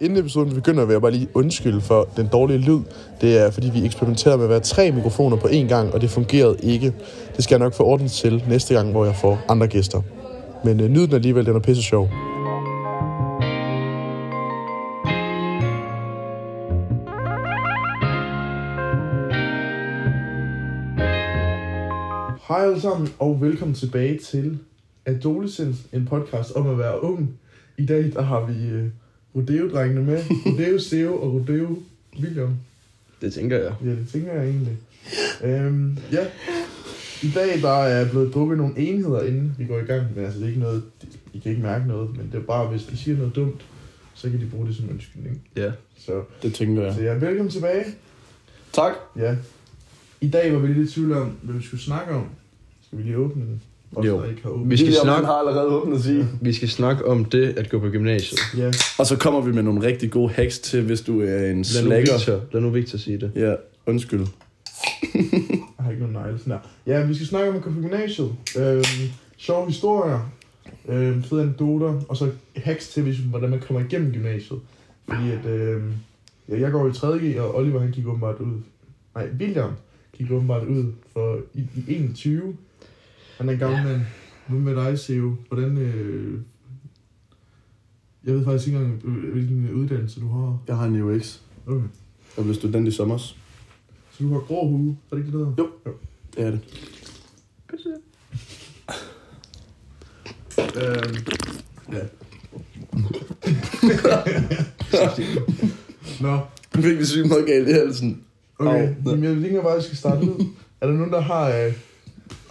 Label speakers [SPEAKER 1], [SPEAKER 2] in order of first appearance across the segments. [SPEAKER 1] Inden episoden begynder, vil jeg bare lige undskylde for den dårlige lyd. Det er, fordi vi eksperimenterede med at være tre mikrofoner på én gang, og det fungerede ikke. Det skal jeg nok få ordnet til næste gang, hvor jeg får andre gæster. Men øh, nyd den alligevel, den er pisse sjov. Hej alle sammen, og velkommen tilbage til Adolescence, en podcast om at være ung. I dag der har vi øh, Rodeo-drengene med. Rodeo Seo og Rodeo William.
[SPEAKER 2] Det tænker jeg.
[SPEAKER 1] Ja, det tænker jeg egentlig. Øhm, ja. I dag der er blevet drukket nogle enheder, inden vi går i gang. Men altså, det er ikke noget, I kan ikke mærke noget, men det er bare, hvis I siger noget dumt, så kan de bruge det som undskyldning.
[SPEAKER 2] Ja.
[SPEAKER 1] Så,
[SPEAKER 3] Det tænker jeg.
[SPEAKER 1] så ja, velkommen tilbage.
[SPEAKER 3] Tak.
[SPEAKER 1] Ja. I dag var vi lidt i tvivl om, hvad vi skulle snakke om. Skal vi lige åbne den? Os,
[SPEAKER 2] Jo.
[SPEAKER 1] der ikke har åbnet.
[SPEAKER 2] Vi skal
[SPEAKER 3] William,
[SPEAKER 2] snakke-
[SPEAKER 3] han har allerede åbnet sig.
[SPEAKER 2] Vi skal snakke om det at gå på gymnasiet.
[SPEAKER 1] Ja,
[SPEAKER 3] Og så kommer vi med nogle rigtig gode hacks til, hvis du er en
[SPEAKER 2] Lad nu,
[SPEAKER 3] slækker.
[SPEAKER 2] Victor, lad nu Victor sige det.
[SPEAKER 3] Ja, undskyld.
[SPEAKER 1] jeg har ikke nogen negle. Sådan der. Ja, vi skal snakke om at gå på gymnasiet. Øhm, sjove historier, øhm, fede anekdoter, og så hacks til, hvis, hvordan man kommer igennem gymnasiet. Fordi at, øhm, ja, jeg går i 3.G, og Oliver han gik åbenbart ud. Nej, William gik åbenbart ud for i, i 21. Han er en gammel mand. Hvad med dig, Seo? Hvordan... Øh, jeg ved faktisk ikke engang, øh, hvilken uddannelse du har.
[SPEAKER 3] Jeg har en UX.
[SPEAKER 1] Okay.
[SPEAKER 3] Jeg blev student i sommer.
[SPEAKER 1] Så du har grå hue, er det ikke det, der?
[SPEAKER 3] Jo. Det er det.
[SPEAKER 1] Øhm, ja. Nå,
[SPEAKER 3] Det fik vi sygt meget galt i halsen.
[SPEAKER 1] okay.
[SPEAKER 3] Au.
[SPEAKER 1] Jamen, jeg tænker bare, at jeg skal starte ud. Er der nogen, der har, øh,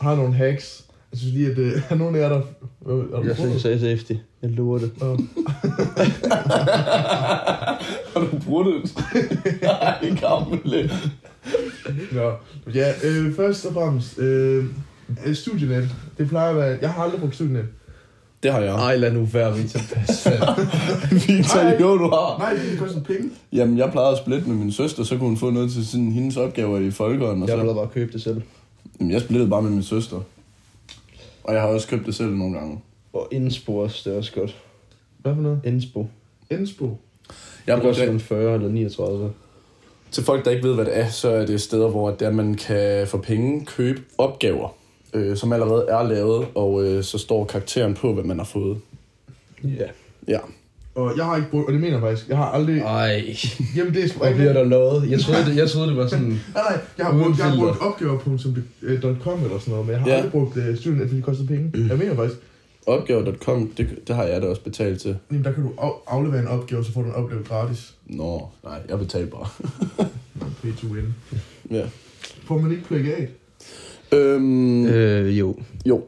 [SPEAKER 1] har nogle hacks? Jeg synes lige, at øh, er nogen af jer, der... Hvad, er du
[SPEAKER 2] Jeg synes,
[SPEAKER 1] prøvet?
[SPEAKER 2] jeg sagde safety. Jeg lurer det.
[SPEAKER 1] Nå,
[SPEAKER 3] Har du brugt det? Nej, gamle.
[SPEAKER 1] Nå. Ja, øh, først og fremmest... Øh, øh, studienet. Det plejer at være... Jeg har aldrig brugt studienet.
[SPEAKER 3] Det har jeg.
[SPEAKER 2] Ej, lad nu være, Victor. Pas,
[SPEAKER 3] Victor,
[SPEAKER 1] Ej.
[SPEAKER 3] jo, du har.
[SPEAKER 1] Nej, det koster penge.
[SPEAKER 3] Jamen, jeg plejede at splitte med min søster, så kunne hun få noget til sådan, hendes opgaver i folkeren. Og
[SPEAKER 2] jeg vil
[SPEAKER 3] så.
[SPEAKER 2] bare købe det selv.
[SPEAKER 3] Jamen, jeg splittede bare med min søster. Og jeg har også købt det selv nogle gange.
[SPEAKER 2] Og indspo også, det er også godt.
[SPEAKER 1] Hvad for noget?
[SPEAKER 2] Indspo.
[SPEAKER 1] Indspo.
[SPEAKER 3] Jeg
[SPEAKER 2] Jeg bruger også en 40 eller 39.
[SPEAKER 3] Til folk, der ikke ved, hvad det er, så er det steder, hvor det er, man kan for penge købe opgaver, øh, som allerede er lavet, og øh, så står karakteren på, hvad man har fået.
[SPEAKER 2] Ja.
[SPEAKER 3] Ja.
[SPEAKER 1] Og jeg har ikke brugt... Og det mener jeg faktisk. Jeg har aldrig...
[SPEAKER 2] Ej,
[SPEAKER 1] Jamen, det er
[SPEAKER 2] hvor
[SPEAKER 1] sgu...
[SPEAKER 2] bliver der noget. Jeg troede, det, jeg troede, det var sådan...
[SPEAKER 1] Nej, nej, jeg har
[SPEAKER 2] Uden
[SPEAKER 1] brugt, jeg har
[SPEAKER 2] filter.
[SPEAKER 1] brugt opgaver.com eller sådan noget, men jeg har ja. Mm.
[SPEAKER 3] Ja.
[SPEAKER 1] aldrig brugt uh, studienet, fordi det koster penge. Jeg mener faktisk,
[SPEAKER 3] Opgaver.com, det, det har jeg da også betalt til.
[SPEAKER 1] jamen, der kan du af- aflevere en opgave, så får du en opgave gratis.
[SPEAKER 3] Nå, nej, jeg betalte bare.
[SPEAKER 1] Pay to win.
[SPEAKER 3] ja.
[SPEAKER 1] Får man ikke plagiat?
[SPEAKER 3] Øhm, øh.
[SPEAKER 2] Øh, jo.
[SPEAKER 3] Jo,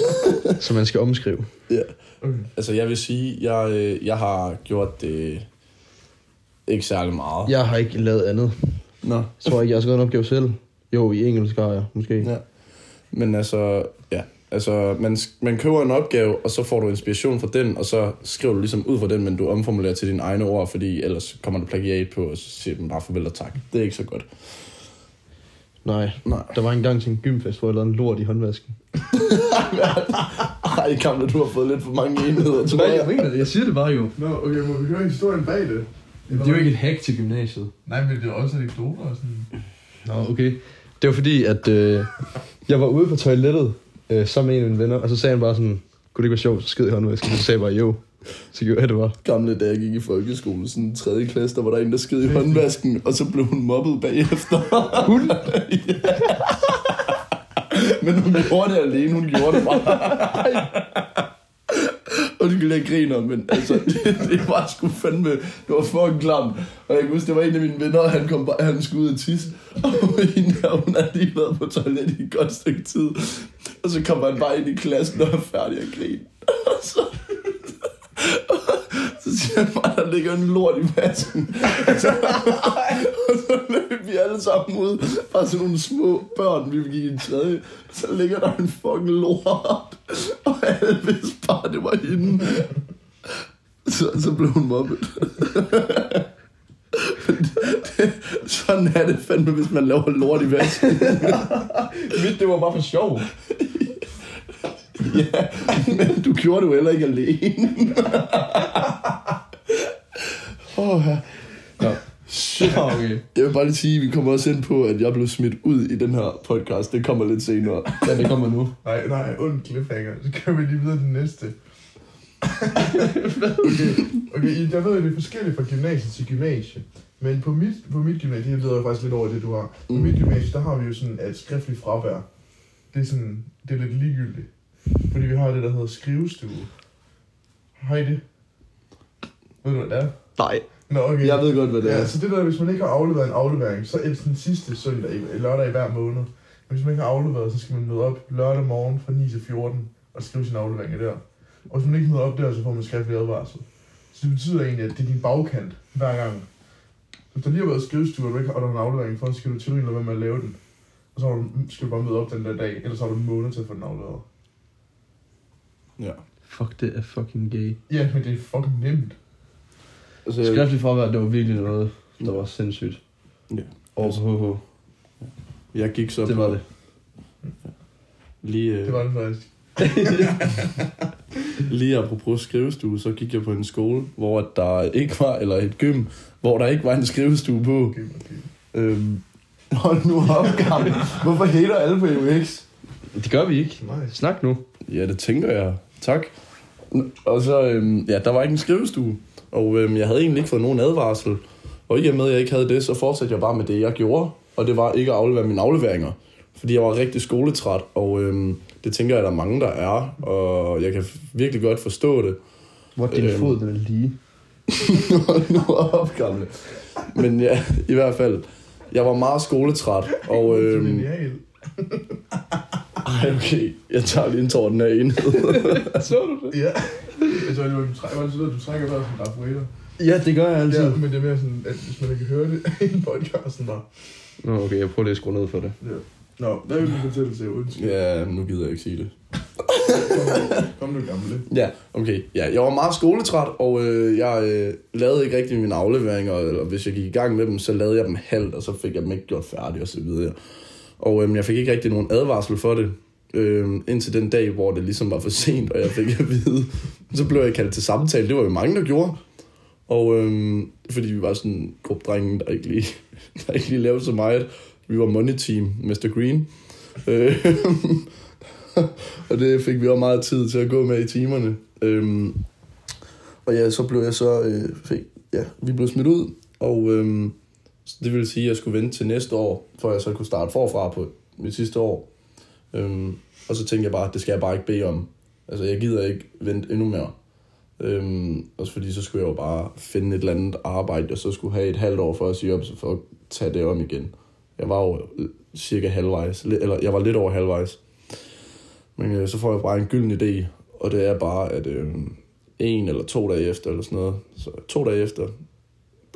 [SPEAKER 2] Så man skal omskrive.
[SPEAKER 3] ja.
[SPEAKER 1] Okay.
[SPEAKER 3] altså jeg vil sige, jeg, øh, jeg har gjort det ikke særlig meget.
[SPEAKER 2] Jeg har ikke lavet andet.
[SPEAKER 3] Nå.
[SPEAKER 2] Jeg tror ikke, jeg har skrevet en opgave selv. Jo, i engelsk har jeg, måske.
[SPEAKER 3] Ja. Men altså, ja. Altså, man, man køber en opgave, og så får du inspiration fra den, og så skriver du ligesom ud fra den, men du omformulerer til dine egne ord, fordi ellers kommer der plagiat på, og så siger den bare farvel og tak. Det er ikke så godt.
[SPEAKER 2] Nej.
[SPEAKER 3] Nej.
[SPEAKER 2] Der var engang til en gymfest, hvor jeg lavede en lort i håndvasken.
[SPEAKER 3] Ej, gamle, du har fået lidt for mange enheder, tror jeg.
[SPEAKER 2] mener det. Jeg siger det bare jo.
[SPEAKER 1] Nå, okay, må vi høre historien bag det?
[SPEAKER 2] et hack til gymnasiet.
[SPEAKER 1] Nej, men det er også anekdoter og sådan...
[SPEAKER 2] Nå, okay. Det var fordi, at øh, jeg var ude på toilettet øh, sammen med en af mine venner, og så sagde han bare sådan, kunne det ikke være sjovt, så skid i håndvasken. Så sagde jeg bare, jo. Så gjorde jeg det bare.
[SPEAKER 3] Gamle, da jeg gik i folkeskolen, sådan en tredje klasse, der var der en, der sked i håndvasken, og så blev hun mobbet bagefter.
[SPEAKER 2] Hun?
[SPEAKER 3] Men hun gjorde det alene, hun gjorde det bare. Og det jeg griner, men altså, det, det var sgu fandme, det var fucking klamt. Og jeg kan huske, det var en af mine venner, og han, kom bare, han skulle ud og tisse. Og hende her, hun havde lige været på toilettet i et godt stykke tid. Og så kom han bare ind i klassen og er færdig at grine. Og så, så siger han bare, der ligger en lort i vasken. Og så løb vi alle sammen ud. Bare sådan nogle små børn, vi gik i en tredje. Så ligger der en fucking lort. Og alle vidste bare, det var hende. Så, så blev hun mobbet. det, sådan er det fandme, hvis man laver lort i vasken.
[SPEAKER 2] Mit, det var bare for sjov.
[SPEAKER 3] Ja, men du gjorde det jo heller ikke alene. Åh, ja.
[SPEAKER 2] Shit. okay.
[SPEAKER 3] Jeg vil bare lige sige, vi kommer også ind på, at jeg blev smidt ud i den her podcast. Det kommer lidt senere.
[SPEAKER 2] Ja, det kommer nu.
[SPEAKER 1] Nej, nej, ond cliffhanger. Så kører vi lige videre til den næste. okay, okay, jeg ved, at det er forskelligt fra gymnasie til gymnasie. Men på mit, på mit gymnasie, det leder jeg faktisk lidt over det, du har.
[SPEAKER 3] Mm.
[SPEAKER 1] På mit gymnasie, der har vi jo sådan et skriftligt fravær. Det er sådan, det er lidt ligegyldigt. Fordi vi har det, der hedder skrivestue. Har I det? Ved du, hvad det er?
[SPEAKER 2] Nej.
[SPEAKER 1] Nå, okay.
[SPEAKER 3] Jeg ved godt, hvad det
[SPEAKER 1] Ja,
[SPEAKER 3] er.
[SPEAKER 1] så det der, hvis man ikke har afleveret en aflevering, så er det den sidste søndag, i- lørdag i hver måned. Men hvis man ikke har afleveret, så skal man møde op lørdag morgen fra 9 til 14 og skrive sine afleveringer der. Og hvis man ikke møder op der, så får man skriftlig advarsel. Så det betyder egentlig, at det er din bagkant hver gang. Hvis der lige har været skrivestue, og du ikke har og der er en aflevering for, så skal du til eller være med at lave den. Og så har du, skal du bare møde op den der dag, ellers har du en måned til at få den afleveret.
[SPEAKER 3] Ja.
[SPEAKER 2] Fuck, det er fucking gay.
[SPEAKER 1] Ja, men det er fucking nemt.
[SPEAKER 3] Altså, jeg,
[SPEAKER 2] Skriftligt fravær, det var virkelig noget, der var sindssygt.
[SPEAKER 3] Ja.
[SPEAKER 2] Over på HH.
[SPEAKER 3] jeg gik så
[SPEAKER 2] Det var det.
[SPEAKER 3] Lige, øh,
[SPEAKER 1] Det var det faktisk.
[SPEAKER 3] Lige apropos skrivestue, så gik jeg på en skole, hvor at der ikke var, eller et gym, hvor der ikke var en skrivestue på.
[SPEAKER 1] Okay, okay.
[SPEAKER 3] Øhm, hold nu op, gammel. Hvorfor hater alle på E EUX?
[SPEAKER 2] Det gør vi ikke.
[SPEAKER 1] Nice.
[SPEAKER 2] Snak nu.
[SPEAKER 3] Ja, det tænker jeg. Tak. Og så, øhm, ja, der var ikke en skrivestue, og øhm, jeg havde egentlig ikke fået nogen advarsel. Og i og med, at jeg ikke havde det, så fortsatte jeg bare med det, jeg gjorde, og det var ikke at aflevere mine afleveringer. Fordi jeg var rigtig skoletræt, og øhm, det tænker jeg, at der er mange, der er, og jeg kan virkelig godt forstå det.
[SPEAKER 2] Hvor din
[SPEAKER 3] Øhm.
[SPEAKER 2] fod, den er lige.
[SPEAKER 3] Hold nu op, gamle. Men ja, i hvert fald. Jeg var meget skoletræt, og...
[SPEAKER 1] Det er
[SPEAKER 3] Øhm,
[SPEAKER 1] genialt.
[SPEAKER 3] ej, okay. Jeg tager lige en tår den her enhed.
[SPEAKER 2] Så du det?
[SPEAKER 1] Ja. Jeg tror, det var, du trækker, var det sådan, at du trækker bare sådan Raffaello.
[SPEAKER 2] Ja, det gør jeg altid.
[SPEAKER 1] Ja, men det er mere sådan, at hvis man ikke hører det i podcasten bare.
[SPEAKER 2] Nå, okay, jeg prøver lige at skrue ned for det.
[SPEAKER 1] Ja. Nå, hvad vil du fortælle til? Undskyld.
[SPEAKER 3] ja, nu gider jeg ikke sige det.
[SPEAKER 1] Kom nu, gamle.
[SPEAKER 3] Ja, okay. Ja, jeg var meget skoletræt, og øh, jeg øh, lavede ikke rigtig mine afleveringer, og hvis jeg gik i gang med dem, så lavede jeg dem halvt, og så fik jeg dem ikke gjort færdige og så videre. Og øh, jeg fik ikke rigtig nogen advarsel for det, øh, indtil den dag, hvor det ligesom var for sent, og jeg fik at vide, så blev jeg kaldt til samtale. Det var jo mange, der gjorde. Og øh, fordi vi var sådan en gruppe drenge, der ikke lige, der ikke lige lavede så meget. Vi var money team, Mr. Green. Øh, og det fik vi også meget tid til at gå med i timerne. Øhm, og ja, så blev jeg så... Øh, fik, ja, vi blev smidt ud, og øhm, så det ville sige, at jeg skulle vente til næste år, for jeg så kunne starte forfra på mit sidste år. Øhm, og så tænkte jeg bare, at det skal jeg bare ikke bede om. Altså, jeg gider ikke vente endnu mere. Øhm, også fordi, så skulle jeg jo bare finde et eller andet arbejde, og så skulle have et halvt år for at sige op, så for at tage det om igen. Jeg var jo øh, cirka halvvejs, li- eller jeg var lidt over halvvejs. Men øh, så får jeg bare en gylden idé, og det er bare, at øh, en eller to dage efter, eller sådan noget, så to dage efter,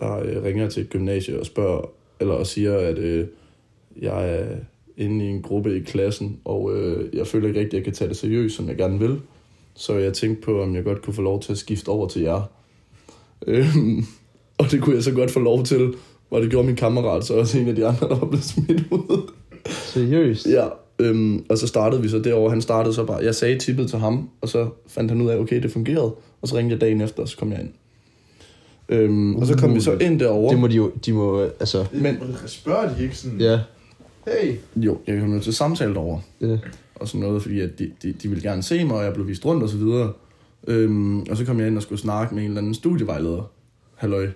[SPEAKER 3] der øh, ringer jeg til et gymnasie og spørger, eller og siger, at øh, jeg er inde i en gruppe i klassen, og øh, jeg føler ikke rigtigt, at jeg kan tage det seriøst, som jeg gerne vil. Så jeg tænkte på, om jeg godt kunne få lov til at skifte over til jer. Øhm, og det kunne jeg så godt få lov til, og det gjorde min kammerat, så også en af de andre, der var blevet smidt ud.
[SPEAKER 2] Seriøst?
[SPEAKER 3] Ja, øhm, og så startede vi så derovre. Han startede så bare, jeg sagde tippet til ham, og så fandt han ud af, okay, det fungerede. Og så ringede jeg dagen efter, og så kom jeg ind. Øhm, og så kom vi så ind derovre.
[SPEAKER 2] Uh. Det må de jo, de må, øh, altså...
[SPEAKER 1] Men
[SPEAKER 3] Men-
[SPEAKER 1] spørger de ikke sådan,
[SPEAKER 2] Ja,
[SPEAKER 1] hey,
[SPEAKER 3] Jo, jeg kom jo til samtale derovre.
[SPEAKER 2] ja.
[SPEAKER 3] og sådan noget, fordi at de, de, de ville gerne se mig, og jeg blev vist rundt og så videre. Øhm, og så kom jeg ind og skulle snakke med en eller anden studievejleder. Halløj.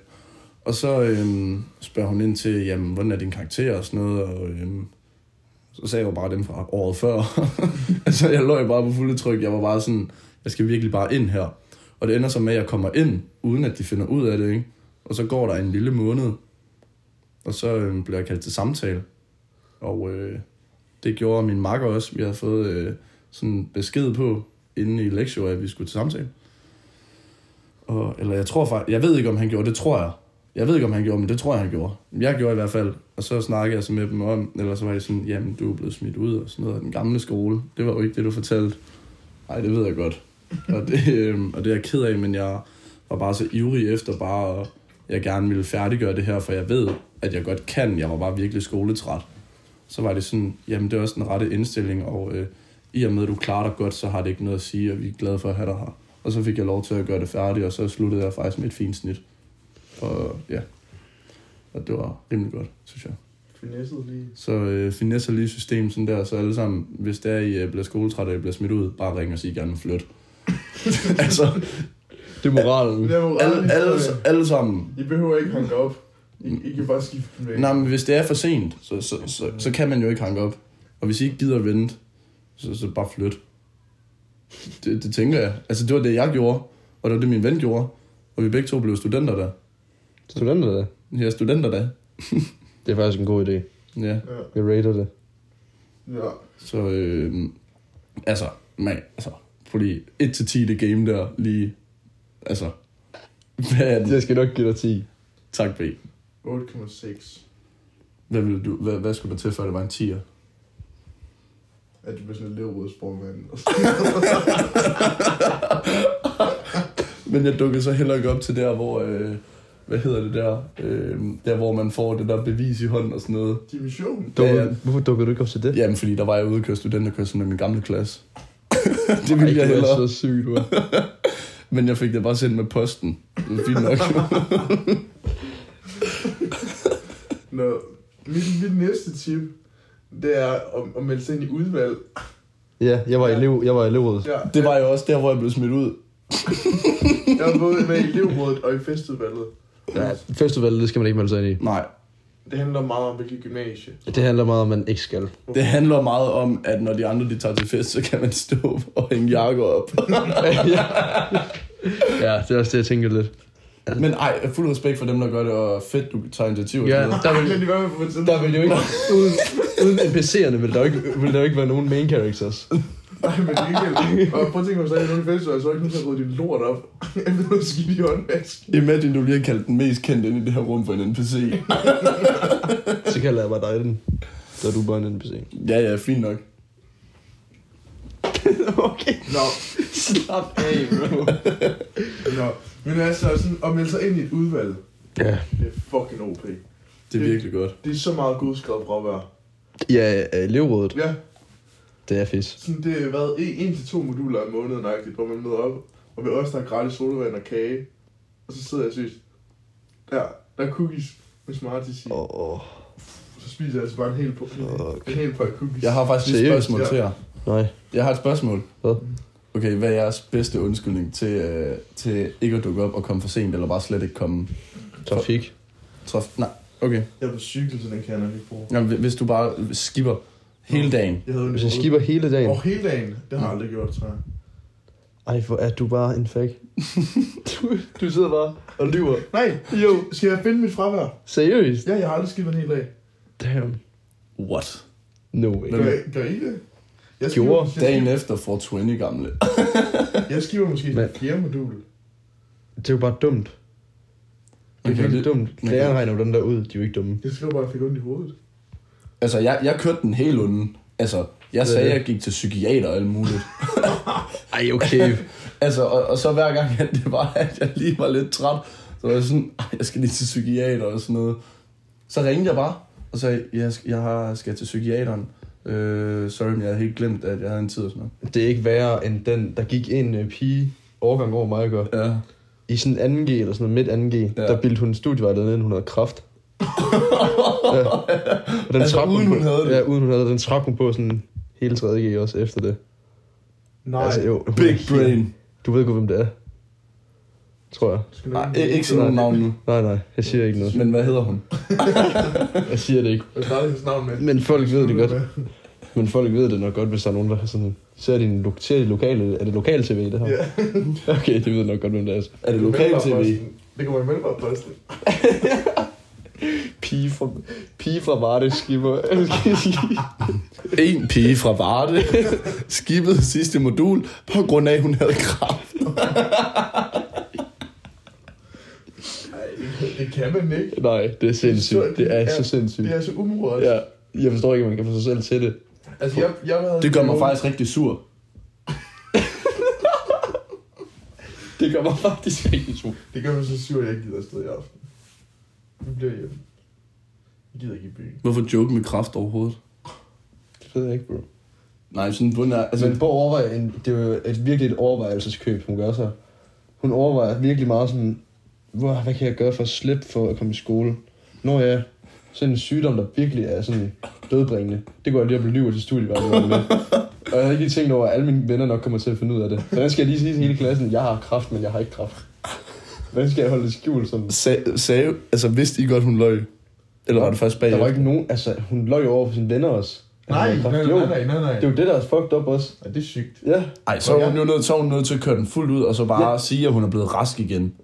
[SPEAKER 3] Og så øhm, spørger hun ind til, jamen, hvordan er din karakter og sådan noget, og øhm, så sagde jeg jo bare dem fra året før. altså, jeg løj bare på fulde tryk. Jeg var bare sådan, jeg skal virkelig bare ind her. Og det ender så med, at jeg kommer ind, uden at de finder ud af det, ikke? Og så går der en lille måned, og så øhm, bliver jeg kaldt til samtale. Og øh, det gjorde min makker også. Vi havde fået øh, sådan en besked på, inden i lektion, at vi skulle til samtale. Og, eller jeg tror faktisk, jeg ved ikke, om han gjorde det, tror jeg. Jeg ved ikke, om han gjorde, men det tror jeg, han gjorde. Jeg gjorde i hvert fald, og så snakkede jeg så med dem om, eller så var jeg sådan, jamen, du er blevet smidt ud og sådan noget af den gamle skole. Det var jo ikke det, du fortalte. Nej, det ved jeg godt. Og det, øh, og det er jeg ked af, men jeg var bare så ivrig efter bare, at jeg gerne ville færdiggøre det her, for jeg ved, at jeg godt kan. Jeg var bare virkelig skoletræt så var det sådan, jamen det er også den rette indstilling, og øh, i og med, at du klarer dig godt, så har det ikke noget at sige, og vi er glade for at have dig her. Og så fik jeg lov til at gøre det færdigt, og så sluttede jeg faktisk med et fint snit. Og ja, og det var rimelig godt, synes jeg.
[SPEAKER 1] Finesset lige.
[SPEAKER 3] Så øh, finesser lige systemet sådan der, så alle sammen, hvis der I øh, bliver skoletræt og I bliver smidt ud, bare ring og sig gerne flyt. altså,
[SPEAKER 2] Det er moralen.
[SPEAKER 1] Det er moralen.
[SPEAKER 3] Mm. alle, alle, alle sammen.
[SPEAKER 1] I behøver ikke hanke op. I, I kan bare skifte den væk.
[SPEAKER 3] Nej, men hvis det er for sent, så, så, så, så kan man jo ikke hanke op. Og hvis I ikke gider at vente, så, så bare flyt. Det, det tænker jeg. Altså, det var det, jeg gjorde, og det var det, min ven gjorde. Og vi begge to blev studenter der.
[SPEAKER 2] Studenter det.
[SPEAKER 3] Ja, studenter der.
[SPEAKER 2] Det er faktisk en god idé.
[SPEAKER 3] Ja.
[SPEAKER 1] Ja.
[SPEAKER 2] Jeg rater det.
[SPEAKER 1] ja.
[SPEAKER 3] Så øh, altså, man, altså, fordi 1-10 det game der lige, altså, hvad er den?
[SPEAKER 2] Jeg skal nok give dig 10.
[SPEAKER 3] Tak B.
[SPEAKER 1] 8,6.
[SPEAKER 3] Hvad, ville du, hvad, hvad skulle der til, før det var en 10'er?
[SPEAKER 1] At du bliver sådan en leverødsprogmand.
[SPEAKER 3] Men jeg dukkede så heller ikke op til der, hvor, øh, hvad hedder det der, øh, der hvor man får det der bevis i hånden og sådan noget.
[SPEAKER 1] Dimension.
[SPEAKER 2] Dukker,
[SPEAKER 3] Ja, ja.
[SPEAKER 2] Hvorfor dukker du ikke op til det?
[SPEAKER 3] Jamen, fordi der var jeg ude og køre studenterkørsel med min gamle klasse. det
[SPEAKER 2] Ej,
[SPEAKER 3] ville jeg
[SPEAKER 2] du er
[SPEAKER 3] hellere.
[SPEAKER 2] så syg, du er.
[SPEAKER 3] Men jeg fik det bare sendt med posten. Det var fint nok.
[SPEAKER 1] Nå, mit, mit næste tip, det er at, at melde sig ind i udvalg.
[SPEAKER 2] Ja, jeg var
[SPEAKER 1] Ja.
[SPEAKER 2] elev, jeg var elevrådet.
[SPEAKER 1] Ja,
[SPEAKER 3] det var jo også der, hvor jeg blev smidt ud.
[SPEAKER 1] jeg er både med i elevrådet og i festudvalget.
[SPEAKER 3] Ja.
[SPEAKER 2] Festivalet, det skal man ikke melde sig ind i.
[SPEAKER 3] Nej,
[SPEAKER 1] Det handler meget om, hvilket gymnasie.
[SPEAKER 2] Det handler meget om, at man ikke skal.
[SPEAKER 3] Det handler meget om, at når de andre de tager til fest, så kan man stå og hænge jakker op.
[SPEAKER 2] ja. ja, det er også det, jeg tænker lidt.
[SPEAKER 3] Men ej, fuld respekt for dem, der gør det, og fedt, du tager initiativ. og
[SPEAKER 2] Ja,
[SPEAKER 3] sådan noget.
[SPEAKER 2] der
[SPEAKER 1] Der
[SPEAKER 2] vil,
[SPEAKER 1] vil, være med på et tidspunkt.
[SPEAKER 2] der vil jo ikke, uden, uden NPC'erne, vil der jo ikke, vil der jo ikke være nogen main characters.
[SPEAKER 1] Nej, men det er ikke Og prøv at tænke mig, så er jeg nogen fest, og jeg så ikke nogen, der har din lort op. Efter noget skidt i håndvask.
[SPEAKER 3] Imagine, du bliver kaldt den mest kendte inde i det her rum for en NPC.
[SPEAKER 2] Så kalder jeg bare dig den. Så er du bare en NPC.
[SPEAKER 3] Ja, ja, fint nok.
[SPEAKER 2] okay.
[SPEAKER 1] Nå,
[SPEAKER 2] Slap af, bro.
[SPEAKER 1] nå. Men altså, sådan, at melde sig ind i et udvalg,
[SPEAKER 2] Ja.
[SPEAKER 1] det er fucking OP.
[SPEAKER 3] Det er virkelig godt.
[SPEAKER 1] Det er så meget godskrevet fravær.
[SPEAKER 2] Ja, elevrådet,
[SPEAKER 1] Ja,
[SPEAKER 2] det er fisk.
[SPEAKER 1] sådan det har været en, en til to moduler om måneden, nøjagtigt, hvor man møder op, og ved os, der er gratis sodavand og kage. Og så sidder jeg og synes, der, der er cookies med Smarties i.
[SPEAKER 2] Åh, oh,
[SPEAKER 1] Så spiser jeg altså bare en hel, po-
[SPEAKER 2] Okay.
[SPEAKER 1] en hel pakke cookies.
[SPEAKER 3] Jeg har faktisk lige et
[SPEAKER 2] Seriøst?
[SPEAKER 3] spørgsmål til jer.
[SPEAKER 2] nej.
[SPEAKER 3] Jeg har et spørgsmål.
[SPEAKER 2] Hvad?
[SPEAKER 3] Okay, hvad er jeres bedste undskyldning til, øh, til ikke at dukke op og komme for sent, eller bare slet ikke komme?
[SPEAKER 2] Trafik.
[SPEAKER 3] Traf... Nej, okay.
[SPEAKER 1] Jeg er på cykel, så den kan jeg nok ikke bruge.
[SPEAKER 3] Jamen, hvis du bare skipper hele dagen.
[SPEAKER 1] Jeg havde en
[SPEAKER 2] Hvis jeg
[SPEAKER 1] rød-
[SPEAKER 2] skipper hele dagen.
[SPEAKER 1] Og hele dagen, det har jeg aldrig gjort, tror jeg.
[SPEAKER 2] Ej, hvor er du bare en fag. du, du sidder bare og lyver.
[SPEAKER 1] Nej,
[SPEAKER 2] Jo.
[SPEAKER 1] skal jeg finde mit fravær?
[SPEAKER 2] Seriøst?
[SPEAKER 1] Ja, jeg har aldrig skippet en hel dag.
[SPEAKER 2] Damn.
[SPEAKER 3] What?
[SPEAKER 2] No way.
[SPEAKER 1] Gør, I- gør I det? Jeg skipper-
[SPEAKER 2] Gjorde.
[SPEAKER 1] jeg skipper-
[SPEAKER 3] Dagen efter får 20 gamle.
[SPEAKER 1] Jeg skipper måske
[SPEAKER 2] Men-
[SPEAKER 1] det fjerde modul.
[SPEAKER 2] Det er jo bare dumt. Det er
[SPEAKER 3] Man kan
[SPEAKER 2] virkelig
[SPEAKER 3] ikke-
[SPEAKER 2] dumt.
[SPEAKER 3] kan-
[SPEAKER 2] Lærerne regner jo dem der ud, de er jo ikke dumme.
[SPEAKER 1] Jeg skriver bare, at jeg fik ondt i hovedet.
[SPEAKER 3] Altså, jeg, jeg kørte den hele unden. Altså, jeg
[SPEAKER 2] Det er
[SPEAKER 3] sagde,
[SPEAKER 2] det.
[SPEAKER 3] at jeg gik til psykiater og alt muligt.
[SPEAKER 2] Ej, okay.
[SPEAKER 3] altså, og, og så hver gang, at det var, at jeg lige var lidt træt, så var jeg sådan, "Ej, jeg skal lige til psykiater og sådan noget. Så ringede jeg bare, og sagde, jeg, skal- jeg har, skal til psykiateren. Øh, sorry, men jeg havde helt glemt, at jeg havde en tid og sådan noget.
[SPEAKER 2] det er ikke værre end den, der gik en øh, pige overgang over mig og gør.
[SPEAKER 3] Ja.
[SPEAKER 2] I sådan 2G eller sådan noget midt 2G,
[SPEAKER 3] Ja.
[SPEAKER 2] ja. der bildte hun studievejleder ind, hun havde kraft. ja. Og den
[SPEAKER 3] Altså,
[SPEAKER 2] trak
[SPEAKER 3] uden
[SPEAKER 2] på,
[SPEAKER 3] hun havde det?
[SPEAKER 2] Ja, uden hun havde det. Den trak hun på sådan hele 3G også efter det.
[SPEAKER 1] Nej,
[SPEAKER 2] altså, jo, hun er
[SPEAKER 3] Big
[SPEAKER 2] helt-
[SPEAKER 3] brain.
[SPEAKER 2] Du ved godt, hvem det er. Tror jeg.
[SPEAKER 1] skal du
[SPEAKER 3] Nej,
[SPEAKER 1] ikke-
[SPEAKER 3] ikke, ikke sådan nogle navn nu.
[SPEAKER 2] Nej, nej, jeg siger ikke noget.
[SPEAKER 3] Men hvad hedder hun?
[SPEAKER 2] Jeg siger det ikke.
[SPEAKER 1] Jeg starter hendes navn med.
[SPEAKER 2] Men folk ved det godt. Men folk ved det nok godt, hvis der er nogen, der har sådan... Ser de, en lo- ser de lokale... Er det lokal tv, det her?
[SPEAKER 1] Ja.
[SPEAKER 2] Okay, det ved nok godt, hvem det er. altså.
[SPEAKER 3] Er det lokal tv?
[SPEAKER 1] Det kommer i Mælkebarposten.
[SPEAKER 2] Pige fra, pige fra Varde skipper.
[SPEAKER 3] En pige fra Varde skibet sidste modul på grund af, at hun havde kraft.
[SPEAKER 1] Nej, det kan man ikke.
[SPEAKER 2] Nej, det er sindssygt. Det er så sindssygt.
[SPEAKER 1] Det er så umordet.
[SPEAKER 2] Ja, jeg forstår ikke, at man kan få sig selv til det.
[SPEAKER 1] Altså, jeg, jeg havde
[SPEAKER 3] Det gør mig faktisk rigtig sur.
[SPEAKER 2] Det gør mig faktisk ikke tro.
[SPEAKER 1] Det gør mig så sur, at jeg ikke gider afsted i aften. Nu bliver hjemme. Jeg gider ikke i byen.
[SPEAKER 3] Hvorfor joke med kraft overhovedet?
[SPEAKER 2] Det ved jeg ikke, bro.
[SPEAKER 3] Nej, sådan bunden er... Altså,
[SPEAKER 2] Altså, men Borg overvejer, en, det er jo et, virkelig et overvejelseskøb, hun gør sig. Hun overvejer virkelig meget sådan, wow, hvad kan jeg gøre for at slippe for at komme i skole? Nå ja, sådan en sygdom, der virkelig er sådan dødbringende. Det går jeg lige og bliver til studievejlederen med. Og jeg havde ikke lige tænkt over, at alle mine venner nok kommer til at finde ud af det. Så jeg skal jeg lige sige til hele klassen, jeg har kraft, men jeg har ikke kraft. Hvordan skal jeg holde det skjult? Sådan?
[SPEAKER 3] Sag, sagde, altså vidste I godt, hun løg? Eller var det først
[SPEAKER 2] Der
[SPEAKER 3] bagefter?
[SPEAKER 2] var ikke nogen, altså hun løj jo over for sine venner også. At hun
[SPEAKER 1] Nej,
[SPEAKER 2] havde kræft.
[SPEAKER 1] nej,
[SPEAKER 2] Jo,
[SPEAKER 1] nej, nej, nej, nej.
[SPEAKER 2] Det er jo det, der er fucked up også.
[SPEAKER 1] Ja, det er sygt.
[SPEAKER 2] Ja,
[SPEAKER 3] Ej, så er hun jo nødt, så er hun nødt til at køre den fuldt ud, og så bare ja. sige, at hun er blevet rask igen.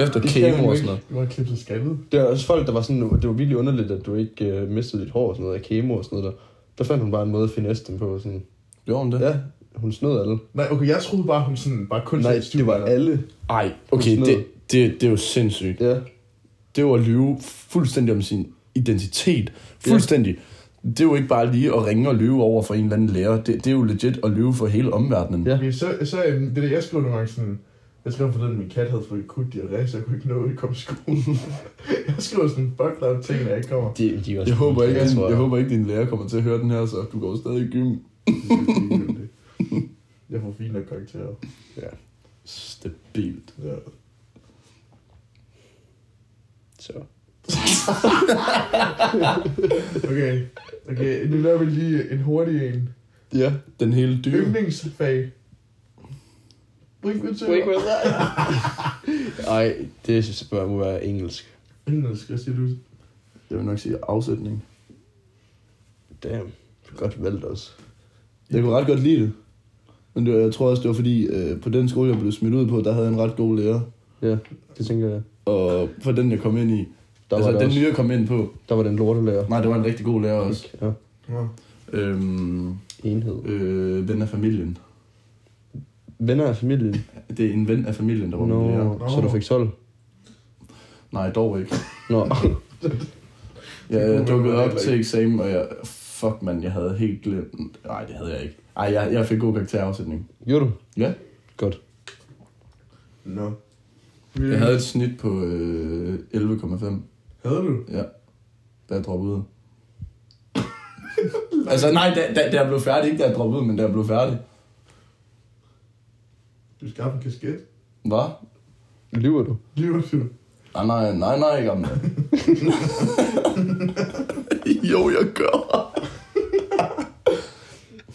[SPEAKER 3] Efter
[SPEAKER 2] kan hun
[SPEAKER 3] kemo og
[SPEAKER 2] ikke.
[SPEAKER 3] sådan noget.
[SPEAKER 1] Det var klippet skaldet.
[SPEAKER 2] det er også folk, der var sådan, det var virkelig underligt, at du ikke øh, mistede dit hår og sådan noget, af kemo og sådan noget der. Der fandt hun bare en måde at finesse dem på. Sådan.
[SPEAKER 3] Gjorde hun det?
[SPEAKER 2] Ja, hun snød alle.
[SPEAKER 1] Nej, okay, jeg troede bare, hun sådan bare kun
[SPEAKER 2] Nej,
[SPEAKER 1] sagde
[SPEAKER 2] det var
[SPEAKER 1] studievejleder.
[SPEAKER 2] alle.
[SPEAKER 3] Ej, okay,
[SPEAKER 2] Hun snød.
[SPEAKER 3] det, det, det er jo sindssygt.
[SPEAKER 2] Ja.
[SPEAKER 3] Det er jo at lyve fuldstændig om sin identitet. Fuldstændig. Det er jo ikke bare lige at ringe og lyve over for en eller anden lærer. Det, det er jo legit at lyve for hele omverdenen.
[SPEAKER 2] Ja.
[SPEAKER 1] Okay, så, så øhm, det der, jeg skrev nogle gange sådan... Jeg skrev forleden, at min kat havde fået akut diarré, så jeg kunne ikke nå at komme i skolen. jeg skrev sådan buckler af ting, når jeg ikke kommer.
[SPEAKER 2] De, de var
[SPEAKER 3] Jeg håber, ikke,
[SPEAKER 2] jeg,
[SPEAKER 3] din,
[SPEAKER 2] tror,
[SPEAKER 3] jeg
[SPEAKER 2] jeg.
[SPEAKER 3] håber ikke, din lærer kommer til at høre den her, så du går stadig i gym.
[SPEAKER 1] Det er ligegyldigt. Jeg får fint nok karakterer.
[SPEAKER 3] Stabilt.
[SPEAKER 1] Ja.
[SPEAKER 2] Så.
[SPEAKER 1] Okay, okay, nu laver vi lige en hurtig en.
[SPEAKER 3] Ja, den hele dybe.
[SPEAKER 1] Yndlingsfag. Brinkkultur.
[SPEAKER 2] Ej, det synes jeg må være engelsk.
[SPEAKER 1] Engelsk, hvad siger du?
[SPEAKER 3] Jeg vil nok sige afsætning.
[SPEAKER 2] Damn. Du godt valgt også.
[SPEAKER 3] Jeg kunne ret godt lide det. Men det, var- jeg tror også, det var fordi, øh, på den skole, jeg blev smidt ud på, der havde jeg en ret god lærer.
[SPEAKER 2] Ja, det tænker jeg.
[SPEAKER 3] Og for den, jeg kom ind i. Der
[SPEAKER 2] Der
[SPEAKER 3] altså,
[SPEAKER 2] var,
[SPEAKER 3] den
[SPEAKER 2] den også,
[SPEAKER 3] nye, jeg kom ind på.
[SPEAKER 2] der var den lortelærer.
[SPEAKER 3] Nej, det var en rigtig god lærer også.
[SPEAKER 2] Ja,
[SPEAKER 1] Nå.
[SPEAKER 3] Øhm,
[SPEAKER 2] enhed.
[SPEAKER 3] øh, ven af familien.
[SPEAKER 2] Venner af familien.
[SPEAKER 3] Det er en ven af familien, der var
[SPEAKER 2] Nå,
[SPEAKER 3] min lærer.
[SPEAKER 2] så du fik 12.
[SPEAKER 3] Nej, dog ikke.
[SPEAKER 2] Nå,
[SPEAKER 1] Det
[SPEAKER 3] Jeg
[SPEAKER 1] kunne man
[SPEAKER 3] dukkede op
[SPEAKER 1] heller
[SPEAKER 3] til
[SPEAKER 1] ikke.
[SPEAKER 3] eksamen, og jeg... Fuck, mand, jeg havde helt glemt... Nej, det havde jeg ikke. Ej, jeg, jeg fik god karakterafsætning.
[SPEAKER 2] gjorde du?
[SPEAKER 3] Ja.
[SPEAKER 2] Godt.
[SPEAKER 1] Nå. Mm.
[SPEAKER 3] Jeg havde et snit på øh, 11,5.
[SPEAKER 1] Havde du?
[SPEAKER 3] Ja, da jeg droppede ud. altså nej, da, da, da jeg blev færdig, ikke da jeg droppede ud, men da jeg blev færdig.
[SPEAKER 1] Du skaffede en kasket.
[SPEAKER 3] Hvad?
[SPEAKER 2] Lyver du?
[SPEAKER 1] Lige du.
[SPEAKER 3] Nej, nej, nej, nej, gamle. jo, jeg gør.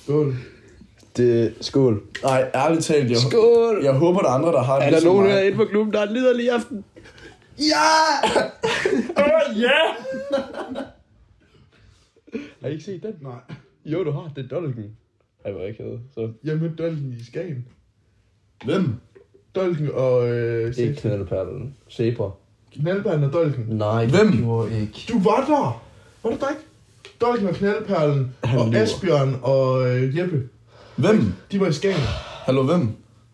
[SPEAKER 1] Skål.
[SPEAKER 2] Det skål.
[SPEAKER 3] Nej, ærligt talt, jeg,
[SPEAKER 2] Skål!
[SPEAKER 3] jeg håber, der er andre, der har det
[SPEAKER 2] Er der
[SPEAKER 3] ligesom
[SPEAKER 2] nogen
[SPEAKER 3] mig.
[SPEAKER 2] herinde på klubben, der er en liderlig aften?
[SPEAKER 3] Ja! Åh, ja!
[SPEAKER 2] Har I ikke set den?
[SPEAKER 1] Nej.
[SPEAKER 2] Jo, du har. Det er Dolken. Ej, hvor ikke havde. Så.
[SPEAKER 1] Jeg mødte Dolken i Skagen.
[SPEAKER 3] Hvem?
[SPEAKER 1] Dolken og... Øh,
[SPEAKER 2] Ikke knaldperlen. Zebra.
[SPEAKER 1] Knaldperlen og Dolken.
[SPEAKER 2] Nej,
[SPEAKER 3] Hvem?
[SPEAKER 2] det gjorde ikke.
[SPEAKER 1] Du var der! Var du der ikke? Dolken og Knaldperlen
[SPEAKER 2] Han
[SPEAKER 1] og
[SPEAKER 2] lyver.
[SPEAKER 1] Asbjørn og øh, Jeppe.
[SPEAKER 3] Hvem?
[SPEAKER 1] De var i Skagen.
[SPEAKER 3] Hallo, hvem?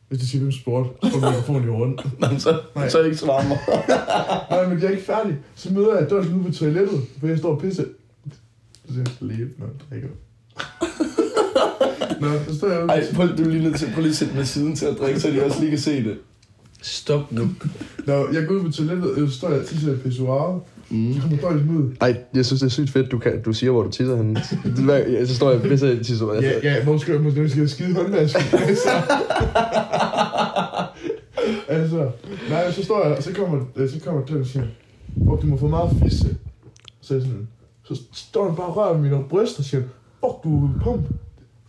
[SPEAKER 1] Hvis de siger, hvem sport, så får mikrofonen i hånden.
[SPEAKER 3] Nej, så,
[SPEAKER 1] Nej.
[SPEAKER 3] så ikke svare mig.
[SPEAKER 1] Nej, men jeg er ikke færdig. Så møder jeg Dolken ude på toilettet, hvor jeg står og pisse. Så siger jeg, læbe, når jeg drikker. Nå, så står jeg ude.
[SPEAKER 3] Ej, prøv, du er lige nødt til, prøv lige at sætte med siden til at drikke, så de også lige kan se det.
[SPEAKER 2] Stop nu.
[SPEAKER 1] Nå, jeg går ud på toilettet, og så står jeg og tisser i pissoaret.
[SPEAKER 3] Mm.
[SPEAKER 1] Så kommer Dolken ud.
[SPEAKER 2] Ej, jeg synes, det er sygt fedt, du, kan, du siger, hvor du tisser henne. Det var- ja, Så står jeg og pisser i tisser.
[SPEAKER 1] Ja, ja, måske, måske, måske jeg skide håndvask. altså. altså, nej, så står jeg, og så kommer, øh, så kommer Dolken og siger, fuck, du må få meget fisse. Så er jeg sådan, så står han bare og rører ved mine bryster og siger, fuck, du er pump.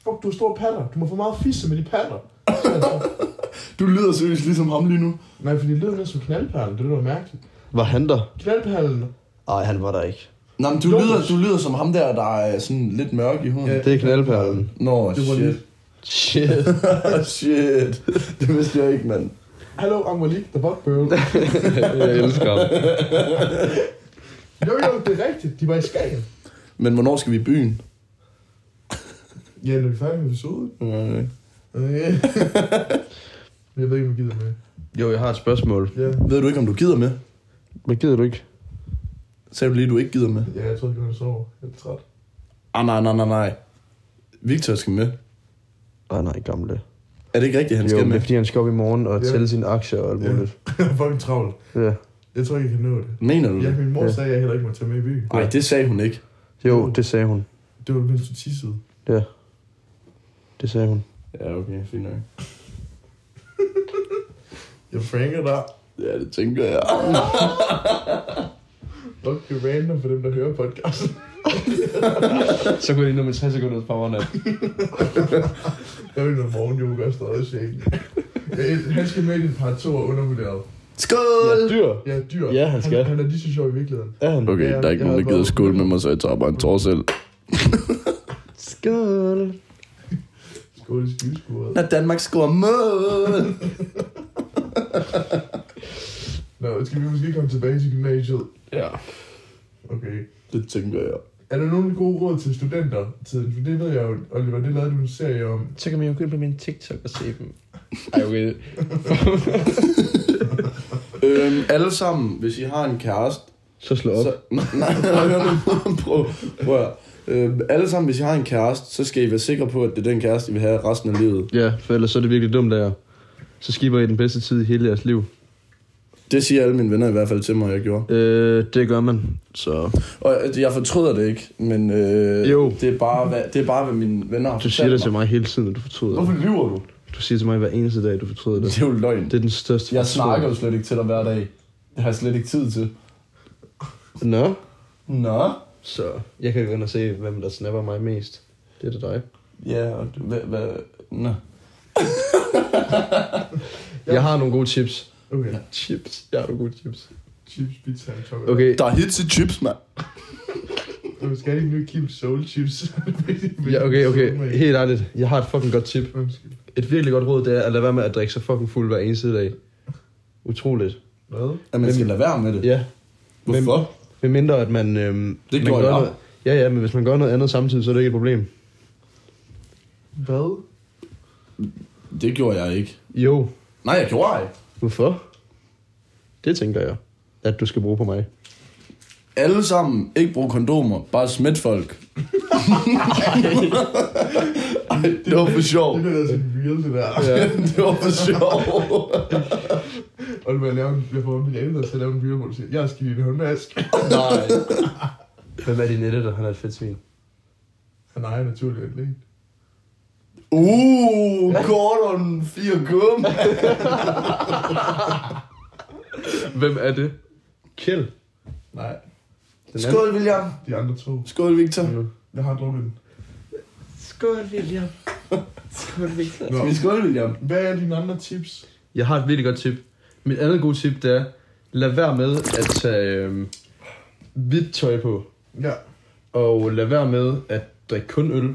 [SPEAKER 1] Fuck, du har store patter. Du må få meget fisse med de patter. Så er jeg sådan,
[SPEAKER 3] Du lyder seriøst ligesom ham lige nu.
[SPEAKER 1] Nej, fordi det lyder mere som knaldperlen, det lyder mærkeligt.
[SPEAKER 2] Var han der?
[SPEAKER 1] Knaldperlen,
[SPEAKER 2] Nej, han var der ikke.
[SPEAKER 3] Nå, men du
[SPEAKER 1] Jo,
[SPEAKER 3] lyder,
[SPEAKER 1] men-
[SPEAKER 3] du lyder som ham der, der er sådan lidt mørk i huden.
[SPEAKER 1] Ja.
[SPEAKER 2] Det er knaldperlen.
[SPEAKER 3] Nå,
[SPEAKER 1] det var lidt.
[SPEAKER 3] shit.
[SPEAKER 2] Shit.
[SPEAKER 3] shit. Det vidste jeg ikke, mand.
[SPEAKER 1] Hallo, I'm Malik, the fuck girl.
[SPEAKER 2] jeg elsker ham.
[SPEAKER 1] jo, jo, det er rigtigt, de var i Skagen.
[SPEAKER 3] Men hvornår skal vi i byen?
[SPEAKER 1] Ja, når vi er færdige med episoden.
[SPEAKER 3] Okay.
[SPEAKER 1] Okay. Øh, jeg ved ikke, om jeg gider med.
[SPEAKER 2] Jo, jeg har et spørgsmål.
[SPEAKER 1] Ja,
[SPEAKER 3] Ved du ikke, om du gider med?
[SPEAKER 2] Hvad gider du ikke?
[SPEAKER 3] Sagde du lige, du ikke gider med?
[SPEAKER 1] ja jeg tror, jeg kan sove. Jeg er træt.
[SPEAKER 3] Ah, nej, nej, nej, nej. Victor skal med.
[SPEAKER 2] Ej, nej, gamle.
[SPEAKER 3] Er det ikke rigtigt, han
[SPEAKER 2] jo,
[SPEAKER 3] skal
[SPEAKER 2] det
[SPEAKER 3] med?
[SPEAKER 2] er fordi, han skal op i morgen og
[SPEAKER 1] Ja.
[SPEAKER 2] tælle sine aktier og alt
[SPEAKER 1] Ja.
[SPEAKER 2] muligt.
[SPEAKER 1] jeg er fucking travl.
[SPEAKER 2] Ja.
[SPEAKER 1] Jeg tror ikke, jeg kan nå det.
[SPEAKER 3] Mener du
[SPEAKER 1] Ja,
[SPEAKER 3] det?
[SPEAKER 1] min mor
[SPEAKER 2] Ja.
[SPEAKER 1] sagde, at jeg heller ikke må tage med i byen.
[SPEAKER 3] Nej, det sagde hun ikke.
[SPEAKER 2] Jo, det sagde hun.
[SPEAKER 1] Det var mens du tissede.
[SPEAKER 2] Det sagde hun.
[SPEAKER 3] Ja, okay, fint nok.
[SPEAKER 1] Jeg franker dig.
[SPEAKER 3] Ja, det tænker jeg.
[SPEAKER 1] Okay, random for dem, der hører podcasten.
[SPEAKER 2] Så går jeg lige nu med 60 sekunders powernap.
[SPEAKER 1] Jeg vil noget morgenyoga og stadig sjælen. Han skal med i din part 2 og undervurderet.
[SPEAKER 3] Skål!
[SPEAKER 2] Dyr.
[SPEAKER 1] Ja, dyr.
[SPEAKER 2] Ja, han skal.
[SPEAKER 1] Han, han er lige så sjov i virkeligheden.
[SPEAKER 2] Er han?
[SPEAKER 3] Okay,
[SPEAKER 1] Ja,
[SPEAKER 3] der er ikke
[SPEAKER 1] jeg
[SPEAKER 3] nogen,
[SPEAKER 1] havde
[SPEAKER 3] der gider
[SPEAKER 1] bare-
[SPEAKER 3] skål med mig, så jeg tager bare en tår selv.
[SPEAKER 2] Skål.
[SPEAKER 1] Skål i skivskuret.
[SPEAKER 3] Når Danmark scorer mål!
[SPEAKER 1] Nå, skal vi måske komme tilbage til gymnasiet?
[SPEAKER 2] Ja.
[SPEAKER 1] Okay.
[SPEAKER 3] Det tænker jeg.
[SPEAKER 1] Er der nogle gode råd til studenter? For det ved jeg jo, Oliver, det lavede du en serie om.
[SPEAKER 2] Så kan man jo gå ind på min TikTok og se dem. Ej, okay.
[SPEAKER 3] Øhm, alle sammen, hvis I har en kæreste,
[SPEAKER 2] Så slå op.
[SPEAKER 3] så... Nej, nej, nej, nej, nej, prøv, prøv at høre. øhm, alle sammen, hvis I har en kæreste, så skal I være sikre på, at det er den kæreste, I vil have resten af livet.
[SPEAKER 2] Ja, for ellers så er det virkelig dumt der. Så skipper I den bedste tid i hele jeres liv.
[SPEAKER 3] Det siger alle mine venner i hvert fald til mig, jeg gjorde.
[SPEAKER 2] Øh, det gør man. Så
[SPEAKER 3] Og øh, jeg fortryder det ikke, men øh,
[SPEAKER 2] Jo.
[SPEAKER 3] det, er bare, hvad, det er bare, hvad mine venner har
[SPEAKER 2] du siger
[SPEAKER 3] fortalt
[SPEAKER 2] det til
[SPEAKER 3] mig.
[SPEAKER 2] mig hele tiden, at du fortryder.
[SPEAKER 3] Hvorfor lyver du?
[SPEAKER 2] Du siger til mig hver eneste dag, at du fortryder det.
[SPEAKER 3] Det er jo løgn.
[SPEAKER 2] Det er den største
[SPEAKER 3] Jeg
[SPEAKER 2] fortrydelse.
[SPEAKER 3] snakker jo slet ikke til dig hver dag. Det har jeg slet ikke tid til.
[SPEAKER 2] Nå,
[SPEAKER 3] Nå?
[SPEAKER 2] så jeg kan gå ind og se, hvem der snapper mig mest. Det er det dig.
[SPEAKER 3] Ja, og du- hvad... hvad nå.
[SPEAKER 2] Jeg har nogle gode chips.
[SPEAKER 1] Okay.
[SPEAKER 2] Chips? Jeg har nogle gode chips.
[SPEAKER 1] Chips, pizza and chocolate.
[SPEAKER 2] Okay,
[SPEAKER 3] Der er hits i chips, mand.
[SPEAKER 1] Du skal ikke nu Kim Soul Chips.
[SPEAKER 2] ja, okay, okay. Helt ærligt. Jeg har et fucking godt tip.
[SPEAKER 1] Undskyld.
[SPEAKER 2] Et virkelig godt råd, det er at lade være med at drikke sig fucking fuld hver eneste dag. Utroligt.
[SPEAKER 1] Hvad?
[SPEAKER 3] At man skal lade være med det.
[SPEAKER 2] Ja.
[SPEAKER 3] Hvorfor?
[SPEAKER 2] Med mindre at man... Øhm,
[SPEAKER 3] Det
[SPEAKER 2] man
[SPEAKER 3] gjorde jeg.
[SPEAKER 2] noget, Ja, ja, men hvis man gør noget andet samtidig, så er det ikke et problem.
[SPEAKER 1] Hvad?
[SPEAKER 3] Det gjorde jeg ikke.
[SPEAKER 2] Jo,
[SPEAKER 3] Nej, jeg gjorde ej.
[SPEAKER 2] hvorfor? Det tænker jeg, at du skal bruge på mig.
[SPEAKER 3] Alle sammen, ikke brug kondomer, bare smit folk. Ej, det var for sjov.
[SPEAKER 1] Det bliver altså en real, det der.
[SPEAKER 2] Ja.
[SPEAKER 3] Det var for sjov.
[SPEAKER 1] Og når jeg laver en, jeg får min ældre til at lave en real, hvor du siger, jeg skal i en håndvask.
[SPEAKER 2] Nej. Hvem er din editor? Han er et fedt svin.
[SPEAKER 1] Han ejer Ah, naturligt atlet.
[SPEAKER 3] Uh, Gordon 4 gum.
[SPEAKER 2] Hvem er det? Kjeld.
[SPEAKER 1] Nej,
[SPEAKER 2] Den
[SPEAKER 3] Skål, William.
[SPEAKER 1] de andre to.
[SPEAKER 3] Skål, Victor.
[SPEAKER 1] Jeg har drukket den.
[SPEAKER 2] Skål, William. Skål, Victor.
[SPEAKER 1] Nå.
[SPEAKER 3] Skal vi skåle, William?
[SPEAKER 1] Hvad er dine andre tips?
[SPEAKER 2] Jeg har et virkelig godt tip. Mit andet gode tip, det er, lad være med at tage øhm, hvidt tøj på.
[SPEAKER 1] Ja.
[SPEAKER 2] Og lad være med at drikke kun øl.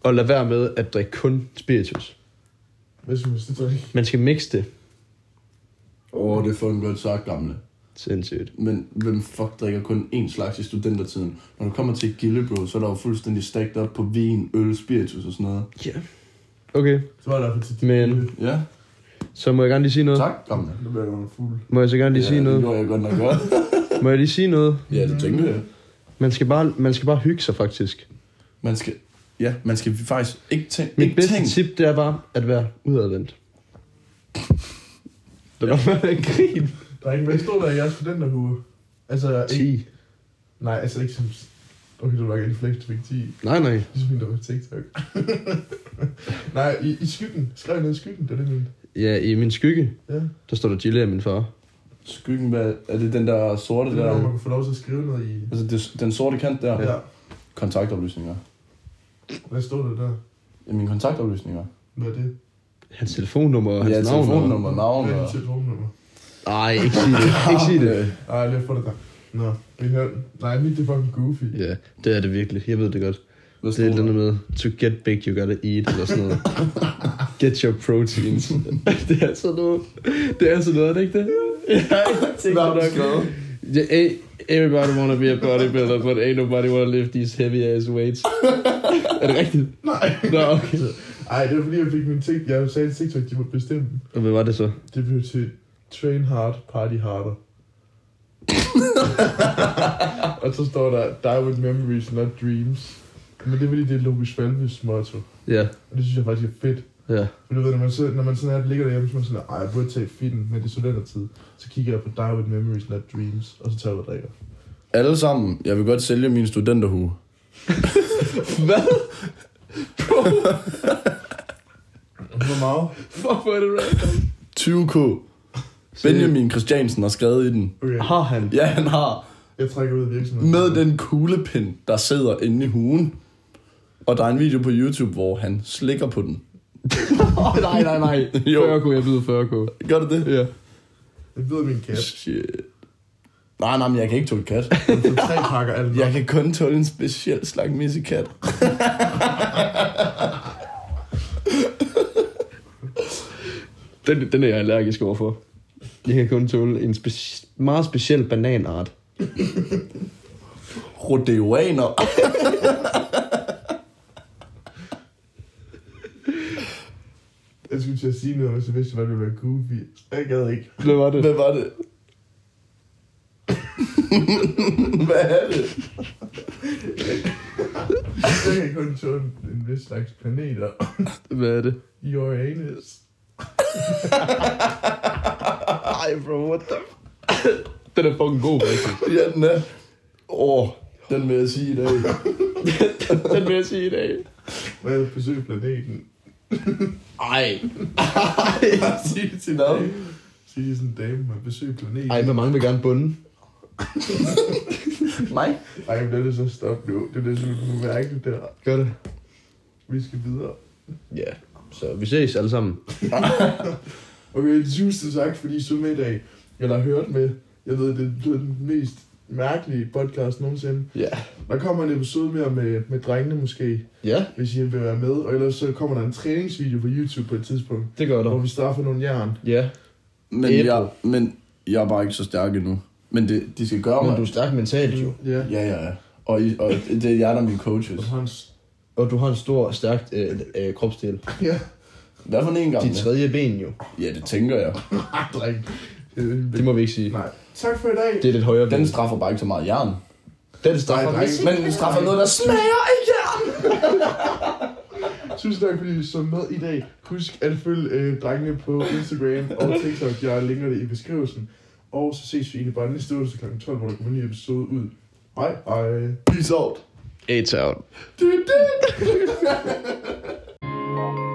[SPEAKER 2] Og lad være med at drikke kun spiritus.
[SPEAKER 1] Hvad synes du, det er?
[SPEAKER 2] Man skal mixe det.
[SPEAKER 3] Åh, oh, det er fucking godt sagt, gamle.
[SPEAKER 2] Sindssygt.
[SPEAKER 3] Men hvem fuck drikker kun én slags i studentertiden? Når du kommer til Gille, bro, så er der jo fuldstændig stacked op på vin, øl, spiritus og sådan noget.
[SPEAKER 2] Ja. Yeah. Okay,
[SPEAKER 1] Så var der for til
[SPEAKER 2] men
[SPEAKER 3] Ja,
[SPEAKER 2] så må jeg gerne lige sige noget.
[SPEAKER 3] tak, gamle.
[SPEAKER 1] Nu bliver jeg jo en fugl.
[SPEAKER 2] Må jeg så gerne lige ja, sige
[SPEAKER 3] Ja, det
[SPEAKER 2] noget?
[SPEAKER 3] gjorde jeg godt nok godt.
[SPEAKER 2] Må jeg lige sige noget?
[SPEAKER 3] ja, det tænker jeg.
[SPEAKER 2] Man skal bare, man skal bare hygge sig faktisk.
[SPEAKER 3] Man skal, ja, man skal faktisk ikke tænke.
[SPEAKER 2] Mit
[SPEAKER 3] ikke
[SPEAKER 2] bedste
[SPEAKER 3] tænke.
[SPEAKER 2] tip, det er bare at være udadvendt. Der var en grin.
[SPEAKER 1] Der er ikke hvad stod der i jeres studenterhue. Altså, ikke,
[SPEAKER 2] 10.
[SPEAKER 1] nej, altså ikke som... Okay, du var ikke en flex, du fik 10.
[SPEAKER 2] Nej, nej.
[SPEAKER 1] Ligesom hende, der var på TikTok. nej, i, i skyggen. Skrev ned i skyggen, det er det min.
[SPEAKER 2] Ja, i min skygge,
[SPEAKER 1] Ja.
[SPEAKER 2] der står der Gille af min far.
[SPEAKER 3] Skyggen, hvad, er det den der sorte
[SPEAKER 1] Det er der, man
[SPEAKER 3] der?
[SPEAKER 1] kunne få lov til at skrive noget i.
[SPEAKER 3] Altså det, den sorte kant der?
[SPEAKER 1] Ja.
[SPEAKER 3] Kontaktoplysninger.
[SPEAKER 1] Hvad stod der der?
[SPEAKER 3] Ja, mine kontaktoplysninger.
[SPEAKER 1] Hvad er det?
[SPEAKER 2] Hans telefonnummer og hans
[SPEAKER 3] Ja,
[SPEAKER 2] navn.
[SPEAKER 3] telefonnummer, navn
[SPEAKER 1] Hvad er
[SPEAKER 3] og...
[SPEAKER 1] dit telefonnummer?
[SPEAKER 2] Nej, ikke sige det. Ikke sige det.
[SPEAKER 1] Nej, det er for det der. Nå, vi hører den. Nej, mit det er fucking goofy.
[SPEAKER 2] Ja, det er det virkelig. Jeg ved det godt.
[SPEAKER 3] Hvad
[SPEAKER 2] Det er et
[SPEAKER 3] stod
[SPEAKER 2] eller
[SPEAKER 3] der?
[SPEAKER 2] andet med, to get big, you gotta eat, eller sådan noget. Get your proteins. det er altså noget. Det er altså noget, er det ikke det? Ja, jeg tænker
[SPEAKER 3] Hvad har du
[SPEAKER 2] nok.
[SPEAKER 3] skrevet?
[SPEAKER 2] Yeah, eh, everybody wanna be a bodybuilder, but ain't nobody wanna lift these heavy ass weights. er det rigtigt?
[SPEAKER 1] Nej.
[SPEAKER 2] Nå, okay.
[SPEAKER 1] Ej, det var fordi, jeg fik min ting. Jeg sagde til TikTok, de må bestemme.
[SPEAKER 2] Og hvad var det så?
[SPEAKER 1] Det blev til train hard, party harder. og så står der, die with memories, not dreams. Men det er fordi, det er Lovis Valves motto.
[SPEAKER 2] Ja,
[SPEAKER 1] Og det synes jeg faktisk er fedt.
[SPEAKER 2] ja.
[SPEAKER 1] For du ved, når man, sidder, når man sådan her ligger derhjemme, så er man sådan, ej, jeg burde tage filmen, men det er studentertid. Så kigger jeg på Die with Memories, Not Dreams, og så tager jeg og drikker.
[SPEAKER 3] Alle sammen, jeg vil godt sælge min studenterhue.
[SPEAKER 2] Hvad?
[SPEAKER 1] Hvor meget?
[SPEAKER 2] Fuck, hvor er det random?
[SPEAKER 3] 20k. Benjamin Christiansen har skrevet i den.
[SPEAKER 1] Okay,
[SPEAKER 2] Har han?
[SPEAKER 3] Ja, han har.
[SPEAKER 1] jeg trækker ud af virksomheden.
[SPEAKER 3] Med den kuglepind, der sidder inde i hugen. Og der er en video på YouTube, hvor han slikker på den.
[SPEAKER 2] Oh, nej, nej, nej.
[SPEAKER 3] Jo.
[SPEAKER 2] 40k, jeg byder 40k.
[SPEAKER 3] Gør du det?
[SPEAKER 2] Ja.
[SPEAKER 1] Jeg bider min kat.
[SPEAKER 3] Shit. Nej, nej, men jeg kan ikke tåle kat.
[SPEAKER 1] Den får tre pakker alt.
[SPEAKER 3] Jeg kan kun tåle en speciel slags missekat.
[SPEAKER 2] Den, den er jeg allergisk overfor. Jeg kan kun tåle en speci- meget speciel bananart.
[SPEAKER 3] Rodeoaner.
[SPEAKER 1] Jeg skulle til at sige noget, hvis jeg vidste, hvad det ville være goofy. Jeg gad ikke.
[SPEAKER 2] Hvad var det?
[SPEAKER 3] Hvad var det? Hvad er det?
[SPEAKER 1] Jeg kan kun tåle en vis slags planeter.
[SPEAKER 2] Hvad er det?
[SPEAKER 1] Your anus.
[SPEAKER 2] Ej, bro, what the... den er fucking god, faktisk.
[SPEAKER 3] Ja, den er. Åh, den vil jeg sige i dag.
[SPEAKER 2] den vil jeg sige i dag.
[SPEAKER 1] Hvad er besøg planeten?
[SPEAKER 2] Ej.
[SPEAKER 3] Jeg siger det til navn.
[SPEAKER 1] Sige til sådan en dame, man besøg planeten.
[SPEAKER 2] Ej, hvor mange vil gerne bunde?
[SPEAKER 3] Mig?
[SPEAKER 1] Ej, men det er så stop nu. Det er det, som du mærke der.
[SPEAKER 2] Gør det.
[SPEAKER 1] Vi skal videre.
[SPEAKER 2] Ja, så vi ses alle sammen.
[SPEAKER 1] Okay, tusind tak, fordi I så med i dag. Eller har hørt med. Jeg ved, det er den mest mærkelige podcast nogensinde.
[SPEAKER 2] Ja.
[SPEAKER 1] Der kommer en episode mere med, med drengene måske,
[SPEAKER 2] Ja,
[SPEAKER 1] hvis I vil være med. Og ellers så kommer der en træningsvideo på YouTube på et tidspunkt,
[SPEAKER 2] det gør
[SPEAKER 1] hvor
[SPEAKER 2] der.
[SPEAKER 1] vi straffer nogle jern.
[SPEAKER 2] Ja,
[SPEAKER 3] Men
[SPEAKER 2] Æble.
[SPEAKER 3] jeg, men jeg er bare ikke så stærk endnu. Men det, de skal gøre
[SPEAKER 2] men
[SPEAKER 3] mig.
[SPEAKER 2] du er stærk mentalt jo.
[SPEAKER 1] Ja.
[SPEAKER 3] Ja, ja, ja. Og, I, og det er jer, der er mine coaches.
[SPEAKER 1] Og så har en s-
[SPEAKER 2] Og du har en stor, stærk øh, øh, kropsdel.
[SPEAKER 1] Ja.
[SPEAKER 3] Hvad for en gang?
[SPEAKER 2] Dit tredje ben jo.
[SPEAKER 3] Ja, det tænker jeg.
[SPEAKER 1] Ah, dreng. Øh,
[SPEAKER 2] Det må vi ikke sige.
[SPEAKER 1] Nej. Tak for i dag.
[SPEAKER 2] Det er dit højre ben.
[SPEAKER 3] Den straffer bare ikke så meget jern.
[SPEAKER 2] Den straffer
[SPEAKER 1] Nej, nej.
[SPEAKER 2] mig.
[SPEAKER 3] Men den straffer noget, der smager af jern.
[SPEAKER 1] Tusind tak, fordi I så med i dag. Husk at følge øh, drengene på Instagram og TikTok. Jeg linker det i beskrivelsen. Og så ses vi egentlig bare næste onsdag kl. 12, hvor der kommer en ny episode ud. Hej, hej.
[SPEAKER 3] Peace out.
[SPEAKER 2] It's out.
[SPEAKER 1] Du, du, du.